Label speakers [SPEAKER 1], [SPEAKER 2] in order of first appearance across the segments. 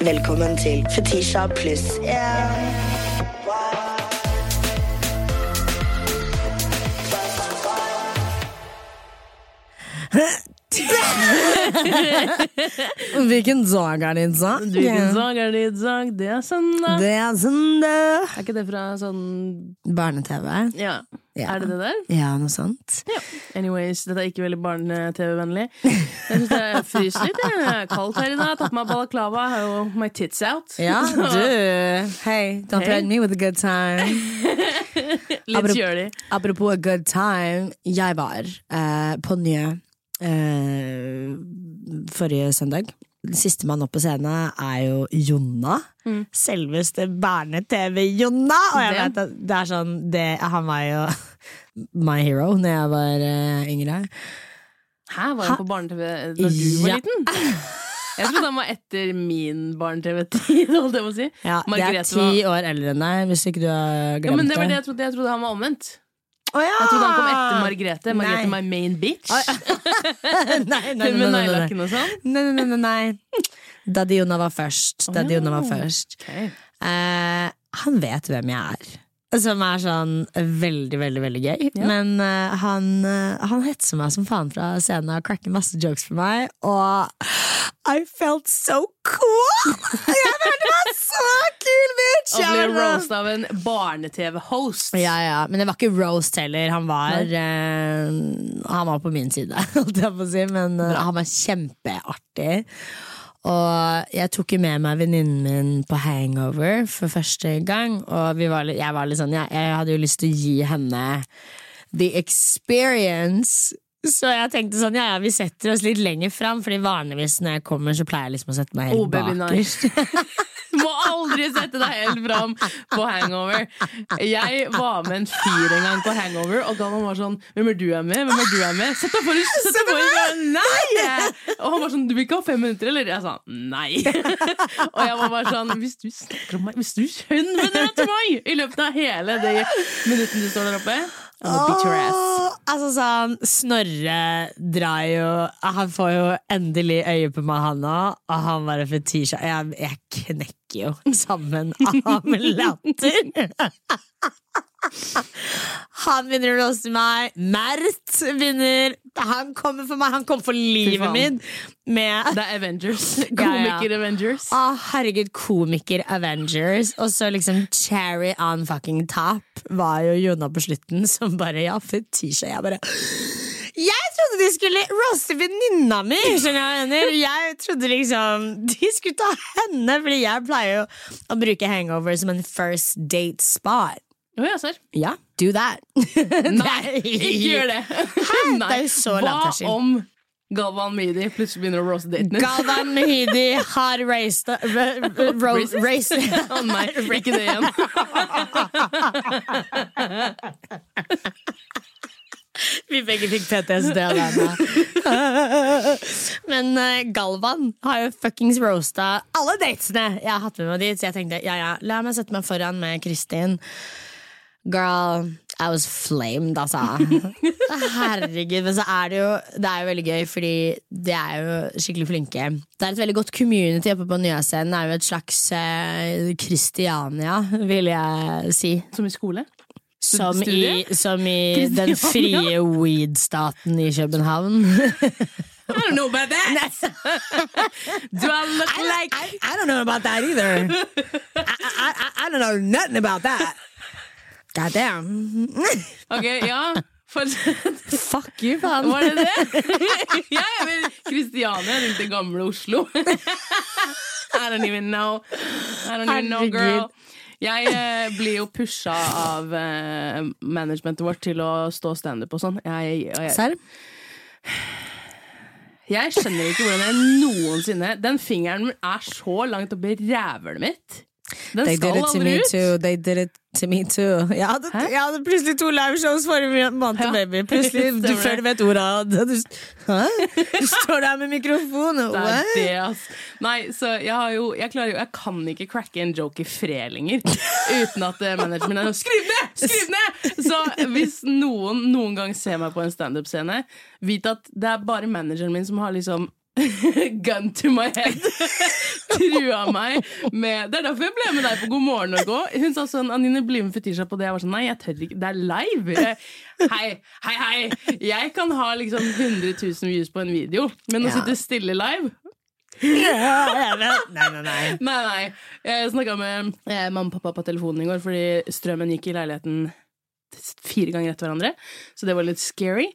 [SPEAKER 1] Velkommen til Fetisha pluss én.
[SPEAKER 2] Hvilken dag er det i dag?
[SPEAKER 3] Du, hvilken dag er det i dag? Det er søndag.
[SPEAKER 2] Det er søndag.
[SPEAKER 3] Er ikke det fra sånn
[SPEAKER 2] Barne-TV.
[SPEAKER 3] ja.
[SPEAKER 2] Ja.
[SPEAKER 3] Er det det der?
[SPEAKER 2] Ja, noe sånt.
[SPEAKER 3] Anyways, dette er ikke veldig barne-TV-vennlig. Jeg syns jeg fryser litt. Jeg er kaldt her i dag. Jeg har Tatt på meg balaklava. I Have all my tits out.
[SPEAKER 2] Ja,
[SPEAKER 3] Så,
[SPEAKER 2] du. Hey, don't
[SPEAKER 3] Hey.
[SPEAKER 2] threaten me with a good time.
[SPEAKER 3] Litt kjølig.
[SPEAKER 2] Apropos a good time. Jeg var eh, på Njø eh, forrige søndag. Sistemann opp på scenen er jo Jonna.
[SPEAKER 3] Mm.
[SPEAKER 2] Selveste Berne-TV-Jonna! Og jeg
[SPEAKER 3] Det.
[SPEAKER 2] vet at det er sånn det, Han var jo my hero når jeg var eh, yngre.
[SPEAKER 3] Hæ, var hun på barne-TV da du
[SPEAKER 2] Ja.
[SPEAKER 3] var liten? Jeg trodde han var etter min barne-TV-tid, holdt jeg på å si.
[SPEAKER 2] Ja, det er
[SPEAKER 3] Margrethe
[SPEAKER 2] ti år eldre enn deg, hvis ikke du har
[SPEAKER 3] Ja,
[SPEAKER 2] glemt
[SPEAKER 3] men det var det jeg trodde. Jeg trodde han var omvendt.
[SPEAKER 2] Å ja!
[SPEAKER 3] Jeg trodde han kom etter Margrethe. Margrethe,
[SPEAKER 2] Ah, Nei.
[SPEAKER 3] my main bitch.
[SPEAKER 2] nei, nei, nei,
[SPEAKER 3] Med
[SPEAKER 2] nei, nei, nei.
[SPEAKER 3] neglelakken og sånn.
[SPEAKER 2] Nei, nei, nei, nei, nei. Daddy Jonna var først. Daddy
[SPEAKER 3] ja.
[SPEAKER 2] Jonna var først.
[SPEAKER 3] Ok.
[SPEAKER 2] Eh, han vet hvem jeg er. Som er sånn veldig, veldig veldig gøy.
[SPEAKER 3] Ja.
[SPEAKER 2] Men eh, han, eh, han hetser meg som faen fra scenen og cracker masse jokes for meg. Og I felt so cool! Jeg følte meg så kul, bitch!
[SPEAKER 3] Og
[SPEAKER 2] Jeg
[SPEAKER 3] blir
[SPEAKER 2] var sånn-
[SPEAKER 3] roast av en barne-TV-host.
[SPEAKER 2] Ja, ja, men det var ikke roast heller. Han var, eh, han var på min side, holdt jeg på å si. Men eh, han var kjempeartig. Og jeg tok jo med meg venninnen min på hangover for første gang. Og vi var, litt- jeg var litt sånn, jeg, jeg hadde jo lyst til å gi henne the experience. Så jeg tenkte sånn, ja ja, vi setter oss litt lenger fram, Fordi vanligvis når jeg kommer, så pleier jeg liksom å sette meg helt
[SPEAKER 3] Oh, baby,
[SPEAKER 2] bakerst.
[SPEAKER 3] Må aldri sette deg helt fram på hangover. Jeg var med en fyr en gang på hangover, og da var han bare sånn Hvem er du er med? Hvem er du er med? Sett deg forrest! Sett deg forrest! Nei! Og han var sånn Du vil ikke ha fem minutter, eller? Jeg sa nei. Og jeg var bare sånn Hvis du snakker om meg Hvis du henvender deg til meg i løpet av hele de minuttene du står der oppe, I'm gonna beat your ass.
[SPEAKER 2] Åh, Altså sånn, Snorre drar jo Han får jo endelig øye på meg, han òg. Og han bare fetisja. Jeg, jeg knekker jo sammen av latter. Han begynner å roaste meg. Mert begynner Han kommer for meg. Han kommer for livet
[SPEAKER 3] faen.
[SPEAKER 2] mitt med
[SPEAKER 3] Det er Avengers.
[SPEAKER 2] ja.
[SPEAKER 3] Komiker-Avengers.
[SPEAKER 2] Å, Ah, herregud, komiker Avengers. Og så liksom cherry on fucking top var jo Jonna på slutten som bare Ja, fetisja. Jeg bare Jeg trodde de skulle roaste venninna mi! Skjønner du hva jeg mener? Jeg trodde liksom de skulle ta henne, fordi jeg pleier jo å bruke hangover som en first date spot.
[SPEAKER 3] Å, ja, serr.
[SPEAKER 2] Ja, do that.
[SPEAKER 3] Nei, ikke gjør det! Nei.
[SPEAKER 2] Det er jo så lavterskel.
[SPEAKER 3] Hva om Galvan Midi plutselig begynner å roaste daten din?
[SPEAKER 2] Galvan Mehidi har raced, uh,
[SPEAKER 3] Racist? Å nei, ikke det igjen.
[SPEAKER 2] Vi begge fikk PTSD av henne. Men eh, Galvan har jo fuckings roasta alle datene jeg har hatt med meg dit. Så jeg tenkte ja, ja, la meg sette meg foran med Kristin. Girl, I was flamed, altså. Herregud. Men så er det jo Det er jo veldig gøy, fordi de er jo skikkelig flinke. Det er et veldig godt community oppe på Nyøscenen. Det er jo et slags eh, Kristiania, vil jeg si.
[SPEAKER 3] Som i skole?
[SPEAKER 2] Som i,
[SPEAKER 3] Studie?
[SPEAKER 2] som i
[SPEAKER 3] Kristiania?
[SPEAKER 2] den frie weed-staten i København.
[SPEAKER 3] I don't know about that! Do I look like
[SPEAKER 2] don't know about that either. I, don't know nothing about that. God damn.
[SPEAKER 3] Ok, ja. Fortsett.
[SPEAKER 2] Fuck you, faen.
[SPEAKER 3] Var det det? Ja, jeg vil Kristiania rundt det gamle Oslo. I don't even know. I don't even know, girl.
[SPEAKER 2] Herregud.
[SPEAKER 3] Jeg eh, blir jo pusha av eh, managementet vårt til å stå standup og sånn. Jeg, og jeg,
[SPEAKER 2] Serr?
[SPEAKER 3] jeg skjønner ikke hvordan jeg noensinne Den fingeren min er så langt oppi rævhølet mitt. Den
[SPEAKER 2] They did
[SPEAKER 3] skal
[SPEAKER 2] it to
[SPEAKER 3] aldri
[SPEAKER 2] me
[SPEAKER 3] ut.
[SPEAKER 2] too. They did it to me too. Jeg hadde,
[SPEAKER 3] Hæ?
[SPEAKER 2] jeg hadde plutselig to liveshows forrige måned,
[SPEAKER 3] Ja.
[SPEAKER 2] baby. Plutselig, du,
[SPEAKER 3] Stemmer
[SPEAKER 2] før du vet ordet av det. Du, hæ? du står der med mikrofon og
[SPEAKER 3] Det
[SPEAKER 2] what?
[SPEAKER 3] er det, ass. Nei, så jeg har jo Jeg klarer jo Jeg kan ikke cracke en joke i fred lenger uten at eh, management er sånn Skriv ned! Skriv ned! Så hvis noen noen gang ser meg på en standup-scene, vit at det er bare manageren min som har liksom Gun to my head. trua meg med Det er derfor jeg ble med deg på God morgen Norge òg. Hun sa sånn Anine, bli med Fetisha på det. Jeg var sånn Nei, jeg tør ikke. Det er live. Jeg, hei, hei, hei. Jeg kan ha liksom 100 000 views på en video, men å
[SPEAKER 2] Ja.
[SPEAKER 3] sitte stille live
[SPEAKER 2] nei, nei, nei.
[SPEAKER 3] Nei, nei. Jeg snakka med eh, mamma og pappa på telefonen i går fordi strømmen gikk i leiligheten fire ganger etter hverandre. Så det var litt scary.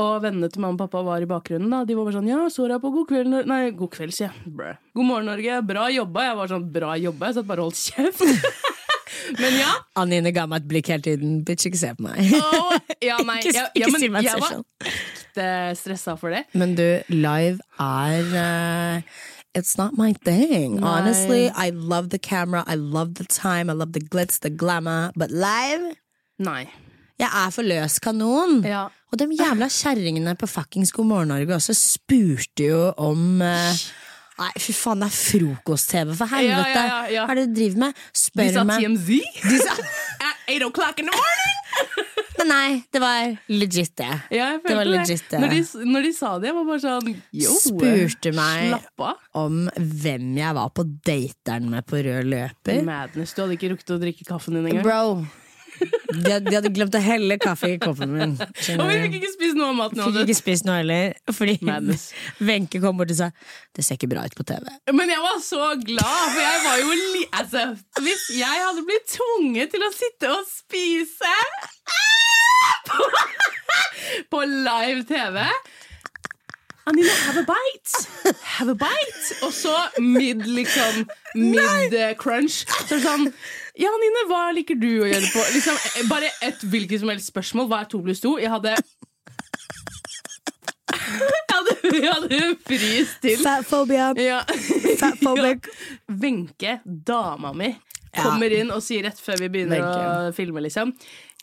[SPEAKER 3] Og vennene til mamma og pappa var i bakgrunnen. da De var bare sånn Ja, så deg på God kveld Nor- Nei, God kveld, sier jeg. Brø. God morgen, Norge. Bra jobba. Jeg var sånn Bra jobba. Jeg satt bare og holdt kjeft. Men ja.
[SPEAKER 2] Anine ga meg et blikk hele tiden. Bitch, ikke se på meg.
[SPEAKER 3] Og, ja nei,
[SPEAKER 2] Ikke-
[SPEAKER 3] ja,
[SPEAKER 2] ikke
[SPEAKER 3] ja, men
[SPEAKER 2] si meg
[SPEAKER 3] jeg var
[SPEAKER 2] selv.
[SPEAKER 3] ekte stressa for det.
[SPEAKER 2] Men du, live er eh, It's not my thing.
[SPEAKER 3] Nei.
[SPEAKER 2] Honestly, I love the camera, I love the time, I love the glitz, the glamour. But live
[SPEAKER 3] Nei.
[SPEAKER 2] Jeg er for løs kanon.
[SPEAKER 3] Ja.
[SPEAKER 2] Og de jævla kjerringene på fuckings God morgen Norge også spurte jo om eh, Nei, fy faen, det er frokost-TV, for
[SPEAKER 3] ja,
[SPEAKER 2] helvete!
[SPEAKER 3] ja, ja.
[SPEAKER 2] Hva er det du driver med?
[SPEAKER 3] De
[SPEAKER 2] Spør
[SPEAKER 3] sa
[SPEAKER 2] meg.
[SPEAKER 3] TMZ. De sa At 8 o'clock in the morning!
[SPEAKER 2] Men nei, det var legit, det.
[SPEAKER 3] Ja, jeg
[SPEAKER 2] Det var
[SPEAKER 3] følte det.
[SPEAKER 2] legit, det.
[SPEAKER 3] Når, de, når de sa det, jeg var bare sånn Yo,
[SPEAKER 2] Spurte meg
[SPEAKER 3] slapp av.
[SPEAKER 2] om hvem jeg var på dateren med på rød løper.
[SPEAKER 3] Madness. Du hadde ikke rukket å drikke kaffen din engang.
[SPEAKER 2] Bro. De, de hadde glemt å helle kaffe i koppen min.
[SPEAKER 3] Og vi
[SPEAKER 2] Skjønner
[SPEAKER 3] fikk
[SPEAKER 2] du?
[SPEAKER 3] ikke spist noe av maten.
[SPEAKER 2] Fikk
[SPEAKER 3] Hadde.
[SPEAKER 2] ikke spist noe heller, fordi
[SPEAKER 3] Madness.
[SPEAKER 2] Wenche kom bort og sa det ser ikke bra ut på TV.
[SPEAKER 3] Men jeg var så glad, for jeg var jo li... Altså, hvis jeg hadde blitt tvunget til å sitte og spise på, på live TV Anine, have a bite! Have a bite! Og så mid, liksom, mid eh, crunch. Så er det sånn Ja, Anine, hva liker du å gjøre på liksom, eh, Bare et hvilket som helst spørsmål. Hva er to pluss to? Jeg hadde Jeg hadde, jeg hadde fryst til.
[SPEAKER 2] Fatphobia.
[SPEAKER 3] Ja.
[SPEAKER 2] Fatphobic.
[SPEAKER 3] Ja. Wenche, dama mi,
[SPEAKER 2] Ja.
[SPEAKER 3] kommer inn og sier rett før vi begynner
[SPEAKER 2] Wenche.
[SPEAKER 3] å filme, liksom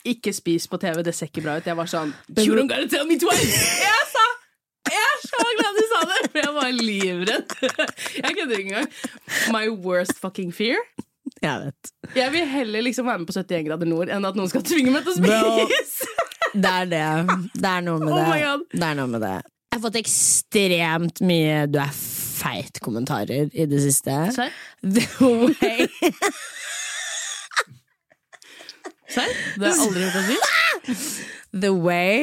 [SPEAKER 3] Ikke spis på TV, det ser ikke bra ut. Jeg var sånn You don't gotta tell me twice! Jeg sa jeg er så glad du sa det, for jeg var livredd. Jeg kødder ikke engang. My worst fucking fear.
[SPEAKER 2] Jeg vet.
[SPEAKER 3] Jeg vil heller liksom være med på 71 grader nord enn at noen skal tvinge meg til
[SPEAKER 2] Bro.
[SPEAKER 3] å spise.
[SPEAKER 2] Det er det. Det er noe med
[SPEAKER 3] Oh my
[SPEAKER 2] det.
[SPEAKER 3] God.
[SPEAKER 2] det er noe med det. Jeg har fått ekstremt mye 'du er feit'-kommentarer i det siste.
[SPEAKER 3] Serr?
[SPEAKER 2] The way
[SPEAKER 3] Serr? Det har jeg aldri altså. hørt deg si.
[SPEAKER 2] The way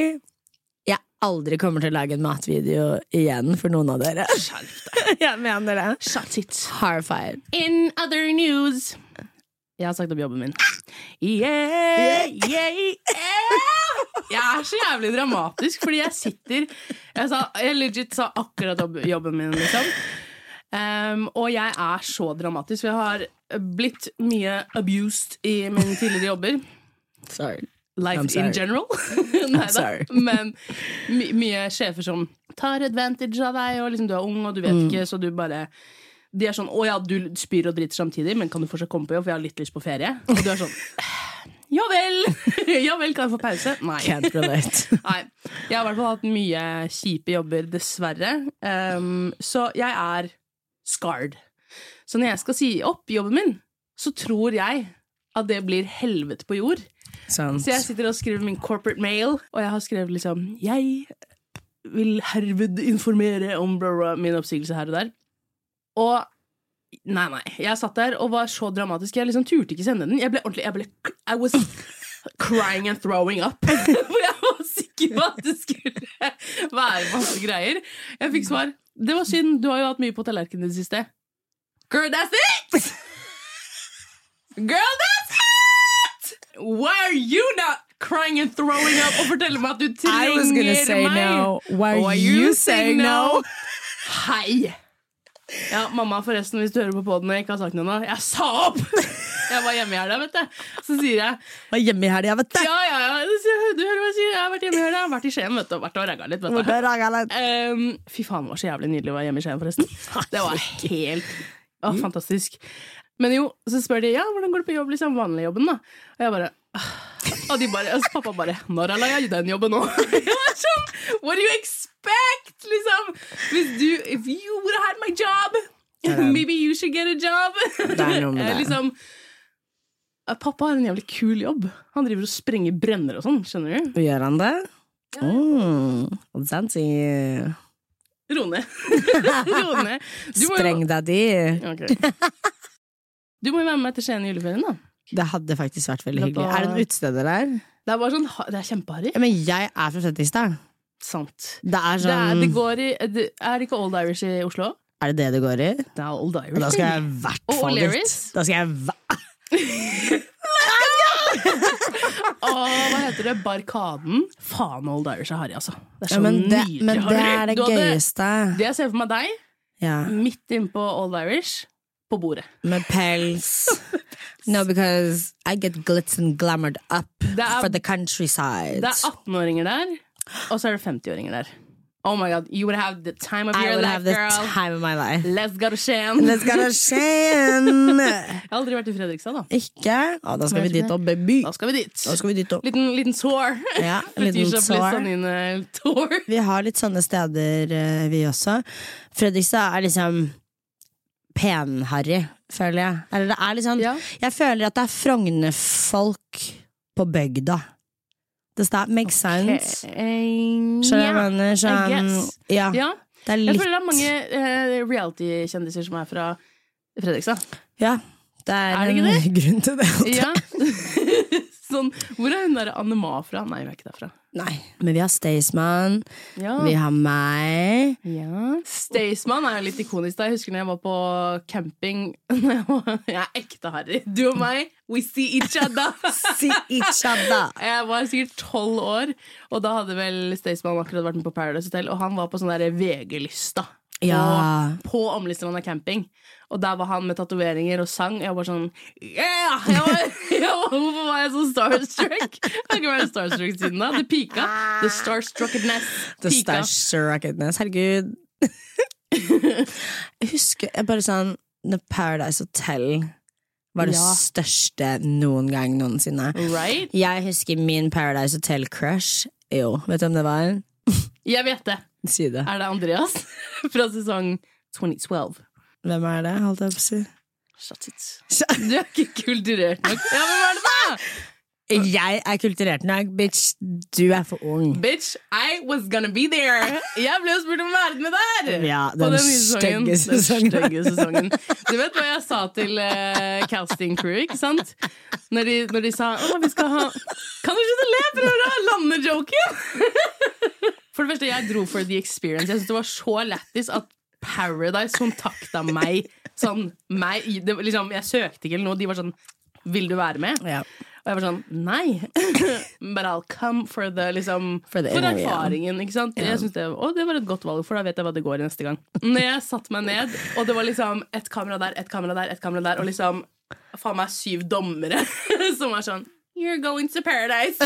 [SPEAKER 2] jeg aldri kommer til å lage en matvideo igjen for noen av dere. Jeg mener det.
[SPEAKER 3] Shut it.
[SPEAKER 2] Horrified.
[SPEAKER 3] In other news Jeg har sagt opp jobben min. Yeah, yeah, yeah. Jeg er så jævlig dramatisk, fordi jeg sitter Jeg, sa, jeg legit sa akkurat opp jobben min, liksom. Um, og jeg er så dramatisk. for Jeg har blitt mye abused i mine tidligere jobber.
[SPEAKER 2] Sorry. I'm
[SPEAKER 3] Life
[SPEAKER 2] sorry.
[SPEAKER 3] in general. Neida.
[SPEAKER 2] sorry.
[SPEAKER 3] Men my, mye sjefer som tar advantage av deg, og liksom du er ung og du vet
[SPEAKER 2] Mm.
[SPEAKER 3] ikke, så du bare De er sånn 'Å ja, du spyr og driter samtidig, men kan du fortsatt komme på jobb, for jeg har litt lyst på ferie?' Og du er sånn Ja vel! ja vel, kan jeg få pause? Nei.
[SPEAKER 2] Can't relate.
[SPEAKER 3] Nei. Jeg har i hvert fall hatt mye kjipe jobber, dessverre. Um, så jeg er scarred. Så når jeg skal si opp jobben min, så tror jeg at det blir helvete på jord.
[SPEAKER 2] Sant.
[SPEAKER 3] Så jeg sitter og skriver min corporate mail, og jeg har skrevet liksom Jeg vil herved informere om bla bla, min oppsigelse her og der. Og Nei, nei. Jeg satt der og var så dramatisk. Jeg liksom turte ikke sende den. Jeg ble ordentlig jeg ble, I was crying and throwing up. For jeg var sikker på at det skulle være masse greier. Jeg fikk svar. Det var synd. Du har jo hatt mye på tallerkenen i det siste. Girl, that's it! Girl, that's it! Why are you not crying and throwing up og forteller meg at du
[SPEAKER 2] I
[SPEAKER 3] trenger
[SPEAKER 2] was gonna say
[SPEAKER 3] meg?
[SPEAKER 2] no. Why are
[SPEAKER 3] Why
[SPEAKER 2] you saying no?
[SPEAKER 3] Hei! Ja, mamma, forresten, hvis du hører på poden og jeg ikke har sagt noe nå, jeg sa opp! Jeg var hjemme i helga, vet du. Så sier jeg
[SPEAKER 2] Var hjemme i helga, vet du.
[SPEAKER 3] ja, ja, ja, så sier jeg, du hører hva jeg sier, jeg har vært hjemme i helga, jeg har vært i Skien, vet du, og vært og ragga litt, vet du. Ehm, fy faen, det var så jævlig nydelig å være hjemme i Skien, forresten. Det var helt å,
[SPEAKER 2] Mm.
[SPEAKER 3] fantastisk. Men jo, så spør de ja, hvordan går det på jobb, liksom, vanlig jobben, da? Og jeg bare «Åh». og de bare, altså, pappa bare 'Når la jeg den jobben nå?' Jeg var sånn, What do you expect? Liksom, hvis du If you would have had my job, maybe you should get a job.
[SPEAKER 2] er noe med Ehm.
[SPEAKER 3] Eh,
[SPEAKER 2] det.
[SPEAKER 3] liksom, eh, pappa har en jævlig kul jobb. Han driver og sprenger brønner og sånn, skjønner du?
[SPEAKER 2] Gjør han det? Mm. Zanzi.
[SPEAKER 3] Ro ned. Ro ned. Du må jo-
[SPEAKER 2] Streng deg, de.
[SPEAKER 3] Ok. Du må jo være med meg til Skien i juleferien, da.
[SPEAKER 2] Det hadde faktisk vært veldig
[SPEAKER 3] Det var-
[SPEAKER 2] hyggelig. Er det en utesteder der?
[SPEAKER 3] Det er bare sånn, ha- det er kjempeharry.
[SPEAKER 2] Ja, men jeg er fra Settingstad.
[SPEAKER 3] Sant.
[SPEAKER 2] Det er
[SPEAKER 3] Det er,
[SPEAKER 2] sånn
[SPEAKER 3] det går i, det, er det ikke Old Irish i Oslo?
[SPEAKER 2] Er det det det går i?
[SPEAKER 3] Det er Old Irish.
[SPEAKER 2] Da skal jeg i hvert
[SPEAKER 3] Og
[SPEAKER 2] fall dit.
[SPEAKER 3] O'Learys?
[SPEAKER 2] Da skal jeg hva-
[SPEAKER 3] Åh, hva heter det? Barkaden? Faen, Old Irish er harry, altså. Det er så
[SPEAKER 2] ja, men, det,
[SPEAKER 3] nydelig
[SPEAKER 2] men det
[SPEAKER 3] harry.
[SPEAKER 2] er det
[SPEAKER 3] Du hadde-
[SPEAKER 2] gøyeste.
[SPEAKER 3] Det jeg ser for meg deg,
[SPEAKER 2] Ja.
[SPEAKER 3] midt innpå Old Irish, på bordet.
[SPEAKER 2] Med pels. No, because I get glitz and glamoured up
[SPEAKER 3] Det er,
[SPEAKER 2] for the countryside.
[SPEAKER 3] det er 18-åringer der, og så er det 50-åringer der. Oh my god, you would have the time of
[SPEAKER 2] I
[SPEAKER 3] your
[SPEAKER 2] would
[SPEAKER 3] life,
[SPEAKER 2] have the
[SPEAKER 3] girl.
[SPEAKER 2] time of my life.
[SPEAKER 3] Let's go to Skien.
[SPEAKER 2] Let's go to Skien!
[SPEAKER 3] Jeg har aldri vært i Fredrikstad, da.
[SPEAKER 2] Ikke? Å, da skal vi dit opp, baby.
[SPEAKER 3] Da skal vi dit.
[SPEAKER 2] Da skal vi dit opp.
[SPEAKER 3] Liten, liten tour.
[SPEAKER 2] Ja, en liten
[SPEAKER 3] Fetisha
[SPEAKER 2] tour.
[SPEAKER 3] Plistanine-tour.
[SPEAKER 2] Vi har litt sånne steder, eh, vi også. Fredrikstad er liksom pen-harry, føler jeg. Eller det er liksom
[SPEAKER 3] Ja.
[SPEAKER 2] Jeg føler at det er Frogner-folk på bygda. Does that make sense? Skjønner du hva jeg mener?
[SPEAKER 3] I
[SPEAKER 2] Sånn,
[SPEAKER 3] guess.
[SPEAKER 2] ja,
[SPEAKER 3] Ja.
[SPEAKER 2] det er
[SPEAKER 3] Jeg
[SPEAKER 2] eh, litt
[SPEAKER 3] føler det er mange eh, reality-kjendiser som er fra Fredrikstad.
[SPEAKER 2] Ja, det er,
[SPEAKER 3] Er det ikke
[SPEAKER 2] en grunn til det.
[SPEAKER 3] Ja. sånn, hvor er hun derre Anne Ma fra? Nei, hun er ikke derfra.
[SPEAKER 2] Nei. Men vi har Staysman,
[SPEAKER 3] Ja.
[SPEAKER 2] vi har meg.
[SPEAKER 3] ja. Staysman er jo litt ikonisk. da Jeg husker når jeg var på camping. jeg er ekte harry. Du og meg, we see each other.
[SPEAKER 2] Si each other.
[SPEAKER 3] Jeg var sikkert tolv år, og da hadde vel Staysman akkurat vært med på Paradise Hotel, og han var på sånn der VG-lista.
[SPEAKER 2] Ja.
[SPEAKER 3] Og På Omlistranda camping. Og der var han med tatoveringer og sang. Og jeg var sånn yeah! jeg var, jeg var, Hvorfor var jeg så starstruck? Jeg har ikke vært starstruck siden da. Det pika. The starstruckedness.
[SPEAKER 2] The
[SPEAKER 3] pika.
[SPEAKER 2] stash rocketness. Herregud. jeg husker jeg bare sånn The Paradise Hotel var det
[SPEAKER 3] Ja.
[SPEAKER 2] største noen gang noensinne.
[SPEAKER 3] Right?
[SPEAKER 2] Jeg husker min Paradise Hotel-crush. Jo, vet du hvem det var?
[SPEAKER 3] Jeg vet det.
[SPEAKER 2] Si det.
[SPEAKER 3] Er det Andreas fra sesong 2012?
[SPEAKER 2] Hvem er det, holdt jeg på å si?
[SPEAKER 3] Shut it. Du er ikke kulturert nok. Ja, men hva er det da?
[SPEAKER 2] Jeg er kulturert nok, bitch. Du er for ung.
[SPEAKER 3] Bitch, I was gonna be there. Jeg ble jo spurt om å være med der!
[SPEAKER 2] Ja,
[SPEAKER 3] På
[SPEAKER 2] den
[SPEAKER 3] nye sesongen.
[SPEAKER 2] stygge sesongen.
[SPEAKER 3] Den stygge sesongen. Du vet hva jeg sa til eh, casting crew, ikke sant? Når de, når de sa å, vi skal ha Kan du slutte å le? Prøver å lande joken! For det første, jeg dro for the experience. Jeg syntes det var så lættis at Paradise kontakta meg. Sånn, meg i- det, var liksom, jeg søkte ikke eller noe. De var sånn Vil du være med?
[SPEAKER 2] Ja.
[SPEAKER 3] Og jeg var sånn Nei! But I'll come for the liksom
[SPEAKER 2] For
[SPEAKER 3] For,
[SPEAKER 2] the interview.
[SPEAKER 3] erfaringen, ikke sant? Jeg synes det, og det var et godt valg, for da vet jeg hva det går i neste gang. Når jeg satte meg ned, og det var liksom et kamera der, et kamera der, et kamera der, og liksom faen meg syv dommere som var sånn You're going to paradise!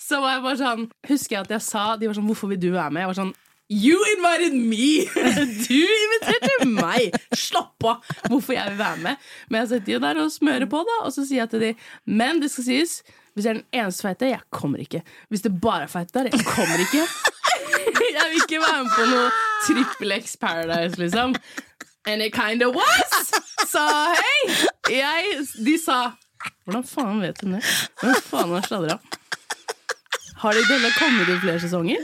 [SPEAKER 3] Så var jeg bare sånn Husker jeg at jeg sa De var sånn Hvorfor vil du være med? Jeg var sånn You invited me! Du inviterte meg! Slapp av! Hvorfor jeg vil være med. Men jeg sitter jo der og smører på, da, og så sier jeg til de Men det skal sies, hvis jeg er den eneste feite, jeg kommer ikke. Hvis det bare er feite der, jeg kommer ikke. Jeg vil ikke være med på noe Trippel X Paradise, liksom. And it kind of was! Så hei! Jeg, de sa Hvordan faen vet hun det? Hvem faen har sladra? Har de denne kommet i flere sesonger?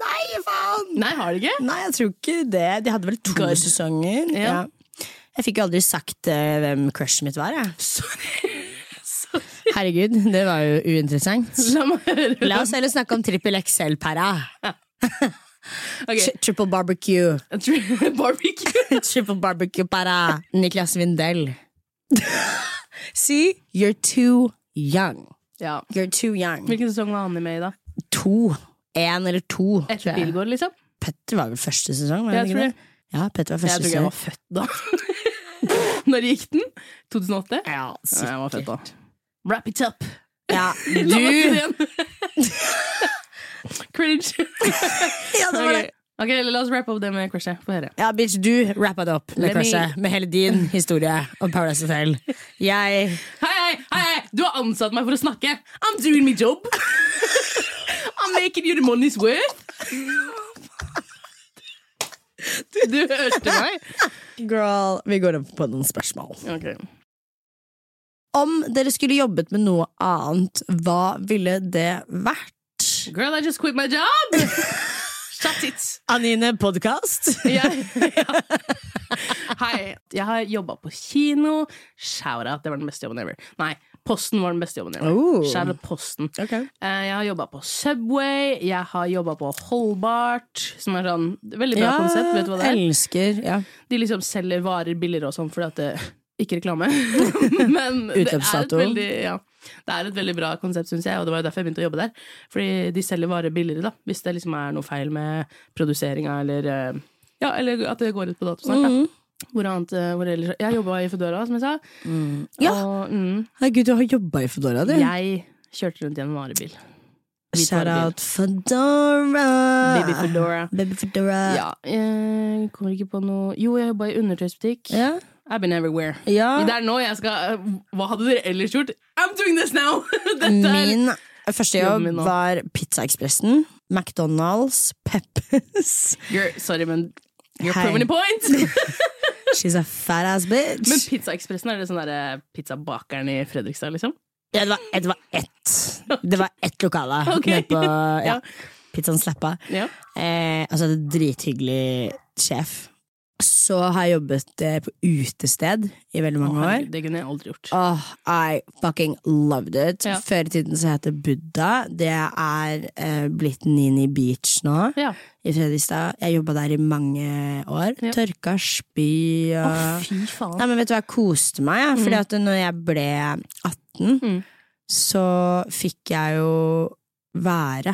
[SPEAKER 2] Nei, faen!
[SPEAKER 3] Nei, har de ikke?
[SPEAKER 2] Nei, jeg tror ikke det. De hadde vel to
[SPEAKER 3] God.
[SPEAKER 2] sesonger. Ja.
[SPEAKER 3] Ja.
[SPEAKER 2] Jeg fikk jo aldri sagt eh, hvem crushet mitt var. Jeg.
[SPEAKER 3] Sorry.
[SPEAKER 2] Herregud, det var jo uinteressant.
[SPEAKER 3] La meg høre.
[SPEAKER 2] La oss heller snakke om trippel XL-pæra.
[SPEAKER 3] Ok,
[SPEAKER 2] Triple barbecue.
[SPEAKER 3] Barbecue.
[SPEAKER 2] Triple barbecue-pæra. Niklas Vindel. See, you're too young.
[SPEAKER 3] Ja.
[SPEAKER 2] You're too young.
[SPEAKER 3] Hvilken sesong var Annie med i, da?
[SPEAKER 2] To. Én eller to.
[SPEAKER 3] Etter
[SPEAKER 2] tror jeg.
[SPEAKER 3] Bilgård, liksom?
[SPEAKER 2] Petter var vel første sesong? Var
[SPEAKER 3] Jeg
[SPEAKER 2] det ikke
[SPEAKER 3] tror
[SPEAKER 2] det? Ja, Petter var
[SPEAKER 3] Jeg
[SPEAKER 2] første
[SPEAKER 3] tror ikke
[SPEAKER 2] sesong.
[SPEAKER 3] jeg var født da. Når gikk den? 2008?
[SPEAKER 2] Ja, altså.
[SPEAKER 3] Nei, jeg var født da. Wrap it up.
[SPEAKER 2] Ja,
[SPEAKER 3] La meg si
[SPEAKER 2] du!
[SPEAKER 3] det igjen. Cringe.
[SPEAKER 2] Ja, det var det.
[SPEAKER 3] Ok. ok, la oss wrap up det med crushet. Få høre.
[SPEAKER 2] Ja, bitch, du rappa det opp med
[SPEAKER 3] Let me-
[SPEAKER 2] crushet. Med hele din historie om Paradise Hotel. Jeg
[SPEAKER 3] Hei, hei, hei, hei, du har ansatt meg for å snakke. I'm doing my job. I'm making you the money's worth. Du, du hørte meg.
[SPEAKER 2] Girl, vi går over på noen spørsmål.
[SPEAKER 3] Ok.
[SPEAKER 2] Om dere skulle jobbet med noe annet, hva ville det vært?
[SPEAKER 3] Girl, I just quit my job. That's it.
[SPEAKER 2] Anine podkast.
[SPEAKER 3] Jeg, ja. Hei. Jeg har jobba på kino. Shout-out. Det var den beste jobben ever. Nei, Posten var den beste jobben ever.
[SPEAKER 2] Oh.
[SPEAKER 3] Shout-out Posten.
[SPEAKER 2] Ok.
[SPEAKER 3] Eh, Jeg har jobba på Subway. Jeg har jobba på Holbart, som er sånn veldig bra
[SPEAKER 2] Ja,
[SPEAKER 3] konsept. Vet du hva det er?
[SPEAKER 2] Elsker. Ja.
[SPEAKER 3] De liksom selger varer billigere og sånn, fordi at det ikke reklame. Men det er, et
[SPEAKER 2] Utløpsdato.
[SPEAKER 3] veldig, ja, det er et veldig bra konsept, syns jeg, og det var jo derfor jeg begynte å jobbe der. Fordi de selger varer billigere, da, hvis det liksom er noe feil med produseringa, eller eh, ja, eller at det går ut på dato snart. da.
[SPEAKER 2] Mm.
[SPEAKER 3] Hvor annet, eh, hvor ellers, jeg jobba i Foodora, som jeg sa.
[SPEAKER 2] Ja.
[SPEAKER 3] Og mm,
[SPEAKER 2] Herregud, du har jobba i Foodora, du.
[SPEAKER 3] jeg kjørte rundt i en varebil. Hvit
[SPEAKER 2] Shout
[SPEAKER 3] varebil.
[SPEAKER 2] out Foodora.
[SPEAKER 3] Baby Foodora.
[SPEAKER 2] Baby Foodora.
[SPEAKER 3] Ja, jeg kommer ikke på noe Jo, jeg jobba i undertøysbutikk.
[SPEAKER 2] Ja.
[SPEAKER 3] I've been everywhere.
[SPEAKER 2] Ja.
[SPEAKER 3] Det er nå jeg skal eh, Hva hadde dere ellers gjort? I'm doing this now! Dette er
[SPEAKER 2] Min første jobb
[SPEAKER 3] Jobben min nå.
[SPEAKER 2] var Pizzaekspressen, McDonald's, Peppers.
[SPEAKER 3] You're, Sorry, men you're
[SPEAKER 2] Hei.
[SPEAKER 3] proving a point!
[SPEAKER 2] She's a fat ass bitch.
[SPEAKER 3] Men Pizzaekspressen, er det sånn derre pizzabakeren i Fredrikstad, liksom?
[SPEAKER 2] ja, det, var, det var ett. Det var ett lokale
[SPEAKER 3] Ok.
[SPEAKER 2] nede på
[SPEAKER 3] Ja.
[SPEAKER 2] ja, Pizzaen Sleppa.
[SPEAKER 3] Ja.
[SPEAKER 2] Eh, altså, det er en drithyggelig sjef. Så har jeg jobbet eh, på utested i veldig mange år.
[SPEAKER 3] Herregud, det kunne jeg aldri gjort.
[SPEAKER 2] Oh, I fucking loved it.
[SPEAKER 3] Ja.
[SPEAKER 2] Før i tiden så het det Buddha. Det er eh, blitt Nini Beach nå.
[SPEAKER 3] Ja.
[SPEAKER 2] I Fredrikstad. Jeg jobba der i mange år.
[SPEAKER 3] Ja.
[SPEAKER 2] Tørka spy og
[SPEAKER 3] Å, fy faen.
[SPEAKER 2] Nei, men vet du hva, jeg koste meg, jeg. Fordi at når jeg ble 18,
[SPEAKER 3] Mm.
[SPEAKER 2] så fikk jeg jo være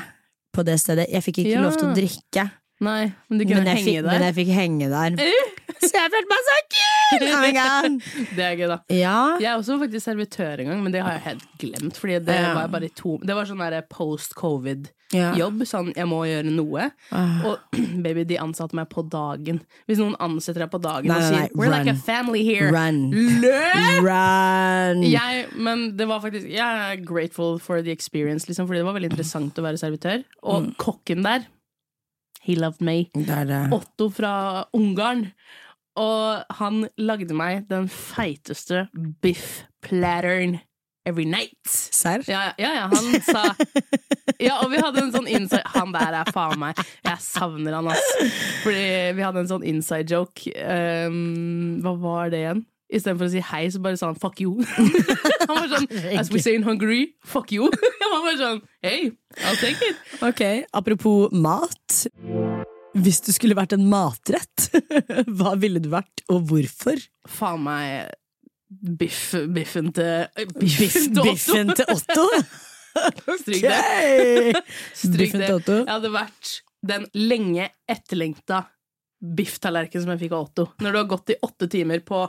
[SPEAKER 2] på det stedet. Jeg fikk ikke
[SPEAKER 3] Ja.
[SPEAKER 2] lov til å drikke,
[SPEAKER 3] Nei, men du kunne
[SPEAKER 2] men jeg, fikk,
[SPEAKER 3] henge
[SPEAKER 2] men
[SPEAKER 3] der.
[SPEAKER 2] jeg fikk henge der. Så jeg følte meg så kul! Oh my god.
[SPEAKER 3] Det er gøy, da.
[SPEAKER 2] Ja.
[SPEAKER 3] Jeg er også faktisk servitør en gang, men det har jeg helt glemt. Fordi det
[SPEAKER 2] Ja.
[SPEAKER 3] var bare i to Det var sånn der post covid-jobb.
[SPEAKER 2] Ja. Ah.
[SPEAKER 3] Sånn, jeg må gjøre noe. Og baby, de ansatte meg på dagen. Hvis noen ansetter deg på dagen
[SPEAKER 2] Nei,
[SPEAKER 3] og
[SPEAKER 2] nei,
[SPEAKER 3] sier
[SPEAKER 2] nei,
[SPEAKER 3] We're like
[SPEAKER 2] run.
[SPEAKER 3] a family here.
[SPEAKER 2] Run.
[SPEAKER 3] Løp!
[SPEAKER 2] Run!
[SPEAKER 3] Jeg, men det var faktisk Jeg er grateful for the experience, liksom, fordi det var veldig interessant å være servitør. Og
[SPEAKER 2] Mm.
[SPEAKER 3] kokken der, he loved me.
[SPEAKER 2] Det er det.
[SPEAKER 3] Otto fra Ungarn. Og han lagde meg den feiteste biff platteren every night.
[SPEAKER 2] Serr?
[SPEAKER 3] Ja, ja, ja, han sa Ja, og vi hadde en sånn inside Han der er faen meg Jeg savner han, ass. Fordi vi hadde en sånn inside joke. Um, hva var det igjen? Istedenfor å si hei, så bare sa han fuck you. han var sånn As we say in Hungary, fuck you. Jeg var bare sånn Hey, I'll take it.
[SPEAKER 2] Ok, apropos mat. Hvis du skulle vært en matrett, hva ville du vært, og hvorfor?
[SPEAKER 3] Faen meg biff, biffen til
[SPEAKER 2] Biff-
[SPEAKER 3] Biffen til Otto.
[SPEAKER 2] Biffen til Otto?
[SPEAKER 3] Stryk det.
[SPEAKER 2] Yay!
[SPEAKER 3] Stryk
[SPEAKER 2] Biffen
[SPEAKER 3] det.
[SPEAKER 2] til Otto.
[SPEAKER 3] Jeg hadde vært den lenge etterlengta bifftallerkenen som jeg fikk av Otto. Når du har gått i åtte timer på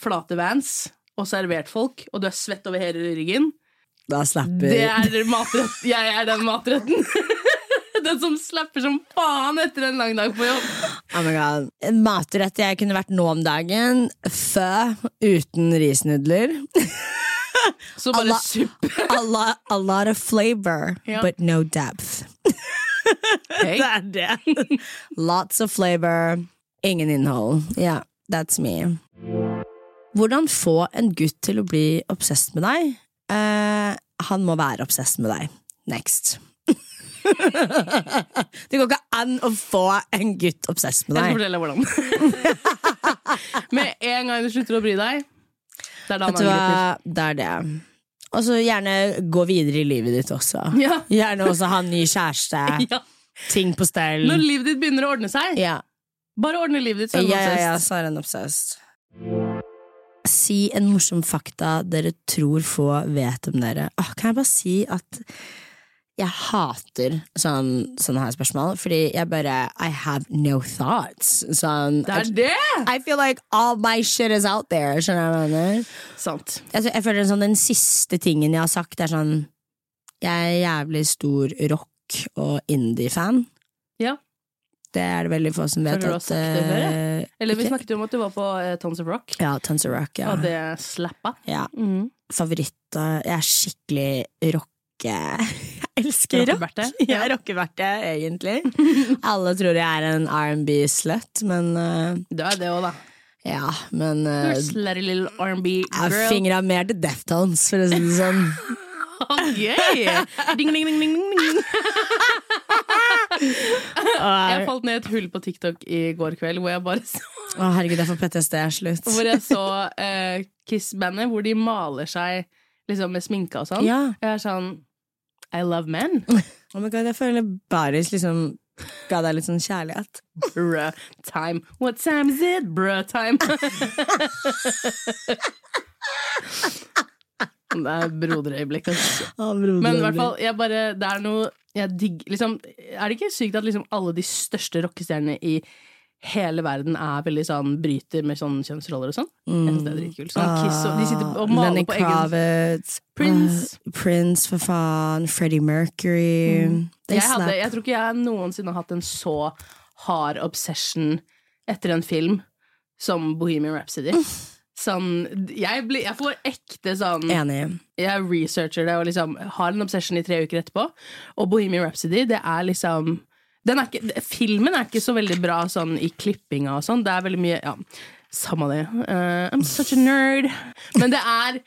[SPEAKER 3] flate vans og servert folk, og du er svett over hele ryggen.
[SPEAKER 2] Da slapper
[SPEAKER 3] Det er matrett. Jeg er den matretten. Den som slapper som faen etter en lang dag på jobb.
[SPEAKER 2] oh my God. En matrett jeg kunne vært nå om dagen. Fø uten risnudler.
[SPEAKER 3] Så bare
[SPEAKER 2] Allah.
[SPEAKER 3] suppe.
[SPEAKER 2] A lot, a lot of flavor,
[SPEAKER 3] Ja.
[SPEAKER 2] but no depth. Det er det. Lots of flavor, ingen innhold. Ja, that's me. Hvordan få en gutt til å bli obsessed med deg? Eh, han må være obsessed med deg. Next. det går ikke an å få en gutt obsessed med deg.
[SPEAKER 3] Jeg skal fortelle deg hvordan. Med en gang du slutter å bry deg, det er
[SPEAKER 2] Vet
[SPEAKER 3] da han
[SPEAKER 2] du
[SPEAKER 3] angriper.
[SPEAKER 2] hva, det er det. Og så gjerne gå videre i livet ditt også.
[SPEAKER 3] Ja.
[SPEAKER 2] Gjerne også ha en ny kjæreste.
[SPEAKER 3] Ja.
[SPEAKER 2] Ting på stell.
[SPEAKER 3] Når livet ditt begynner å ordne seg,
[SPEAKER 2] Ja.
[SPEAKER 3] bare ordne livet ditt. så er du
[SPEAKER 2] Ja, ja, ja,
[SPEAKER 3] obsessed.
[SPEAKER 2] så er han obsessed. Si en morsom fakta dere tror få vet om dere. Åh, kan jeg bare si at jeg hater sånn, sånne her spørsmål, fordi jeg bare I have no thoughts. Sånn,
[SPEAKER 3] Det er det!
[SPEAKER 2] I feel like all my shit is out there. Skjønner du hva jeg mener?
[SPEAKER 3] Sant.
[SPEAKER 2] Jeg, jeg føler sånn, Den siste tingen jeg har sagt, er sånn Jeg er jævlig stor rock- og indie-fan.
[SPEAKER 3] Ja.
[SPEAKER 2] Det er det veldig få som vet
[SPEAKER 3] Føler du har
[SPEAKER 2] at
[SPEAKER 3] sagt det før, ja?
[SPEAKER 2] eh,
[SPEAKER 3] Eller vi
[SPEAKER 2] ikke-
[SPEAKER 3] snakket jo om at du var på eh, Tons of Rock,
[SPEAKER 2] Ja, Tons of Rock. Ja.
[SPEAKER 3] og det slappa.
[SPEAKER 2] ja.
[SPEAKER 3] Mm.
[SPEAKER 2] Favoritt eh, Jeg er skikkelig rocke... Jeg elsker rock.
[SPEAKER 3] Rockeberte.
[SPEAKER 2] Jeg er rockeberte, egentlig. Alle tror jeg er en R&B-slut, men eh,
[SPEAKER 3] Det er det òg, da.
[SPEAKER 2] Ja, men
[SPEAKER 3] Du
[SPEAKER 2] eh,
[SPEAKER 3] er slutty little R&B
[SPEAKER 2] jeg har
[SPEAKER 3] girl.
[SPEAKER 2] fingra mer til Deftones, for å si det sånn.
[SPEAKER 3] Oh, yeah. ding, ding, ding, ding, ding.
[SPEAKER 2] Å,
[SPEAKER 3] Jeg falt ned et hull på TikTok i går kveld hvor jeg bare så,
[SPEAKER 2] herregud, jeg får PTSD. Slutt.
[SPEAKER 3] hvor jeg så eh, Kiss-bandet, hvor de maler seg liksom med sminke og sånn.
[SPEAKER 2] Ja.
[SPEAKER 3] Jeg er sånn I love men.
[SPEAKER 2] Oh my god, jeg føler Baris liksom ga deg litt sånn kjærlighet.
[SPEAKER 3] Bruh time. What time is it? Bruh time. det er broderøyeblikk, altså. Men i hvert fall, jeg bare Det er noe jeg digger liksom, Er det ikke sykt at liksom alle de største rockestjernene i hele verden er veldig sånn bryter med sånn kjønnsroller og sånn? Jeg synes det er dritkult. Sånn Kiss og De sitter og maler
[SPEAKER 2] Mm. Ah, Lenny
[SPEAKER 3] på egen
[SPEAKER 2] Kravitz.
[SPEAKER 3] Prince.
[SPEAKER 2] Ah, Prince, for faen. Freddie Mercury. Det er
[SPEAKER 3] Mm. jeg, hadde,
[SPEAKER 2] snap.
[SPEAKER 3] jeg tror ikke jeg noensinne har hatt en så hard obsession etter en film som Bohemian Rhapsody.
[SPEAKER 2] Mm.
[SPEAKER 3] Sånn, jeg, blir, jeg får ekte sånn
[SPEAKER 2] Enig.
[SPEAKER 3] Jeg researcher det og liksom har en obsession i tre uker etterpå. Og Bohemian Rhapsody, det er liksom den er ikke, Filmen er ikke så veldig bra sånn i klippinga og sånn. Det er veldig mye Ja, samme det. Eh, I'm such a nerd. Men det er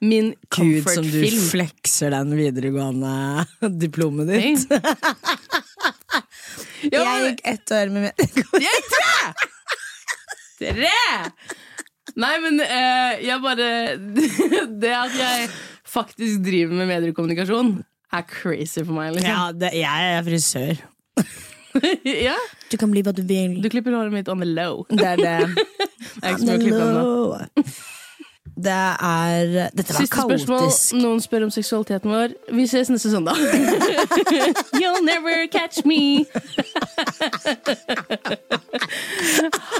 [SPEAKER 3] min
[SPEAKER 2] Gud, som du
[SPEAKER 3] comfort-film.
[SPEAKER 2] flekser den videregående diplomet ditt.
[SPEAKER 3] Ja,
[SPEAKER 2] Jeg
[SPEAKER 3] men-
[SPEAKER 2] gikk ett år med meg.
[SPEAKER 3] Jeg er tre! Tre! Nei, men eh, jeg bare Det at jeg faktisk driver med mediekommunikasjon, er crazy for meg. liksom.
[SPEAKER 2] Ja, det, jeg er frisør.
[SPEAKER 3] Ja.
[SPEAKER 2] Du kan bli hva du vil.
[SPEAKER 3] Du klipper håret mitt on the low.
[SPEAKER 2] Det er det.
[SPEAKER 3] Jeg er ikke så bra å klippe ennå.
[SPEAKER 2] Det er Dette var
[SPEAKER 3] Siste spørsmål.
[SPEAKER 2] kaotisk.
[SPEAKER 3] Noen spør om seksualiteten vår. Vi ses neste søndag. You'll never catch me.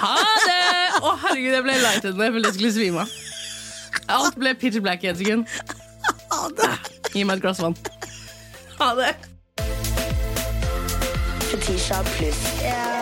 [SPEAKER 3] ha det! Å, herregud, jeg ble lightheaded når jeg følte jeg skulle svime av. Alt ble pitch black i et sekund. Gi meg et glass vann. Ha det.
[SPEAKER 1] Fetisha pluss. Ja.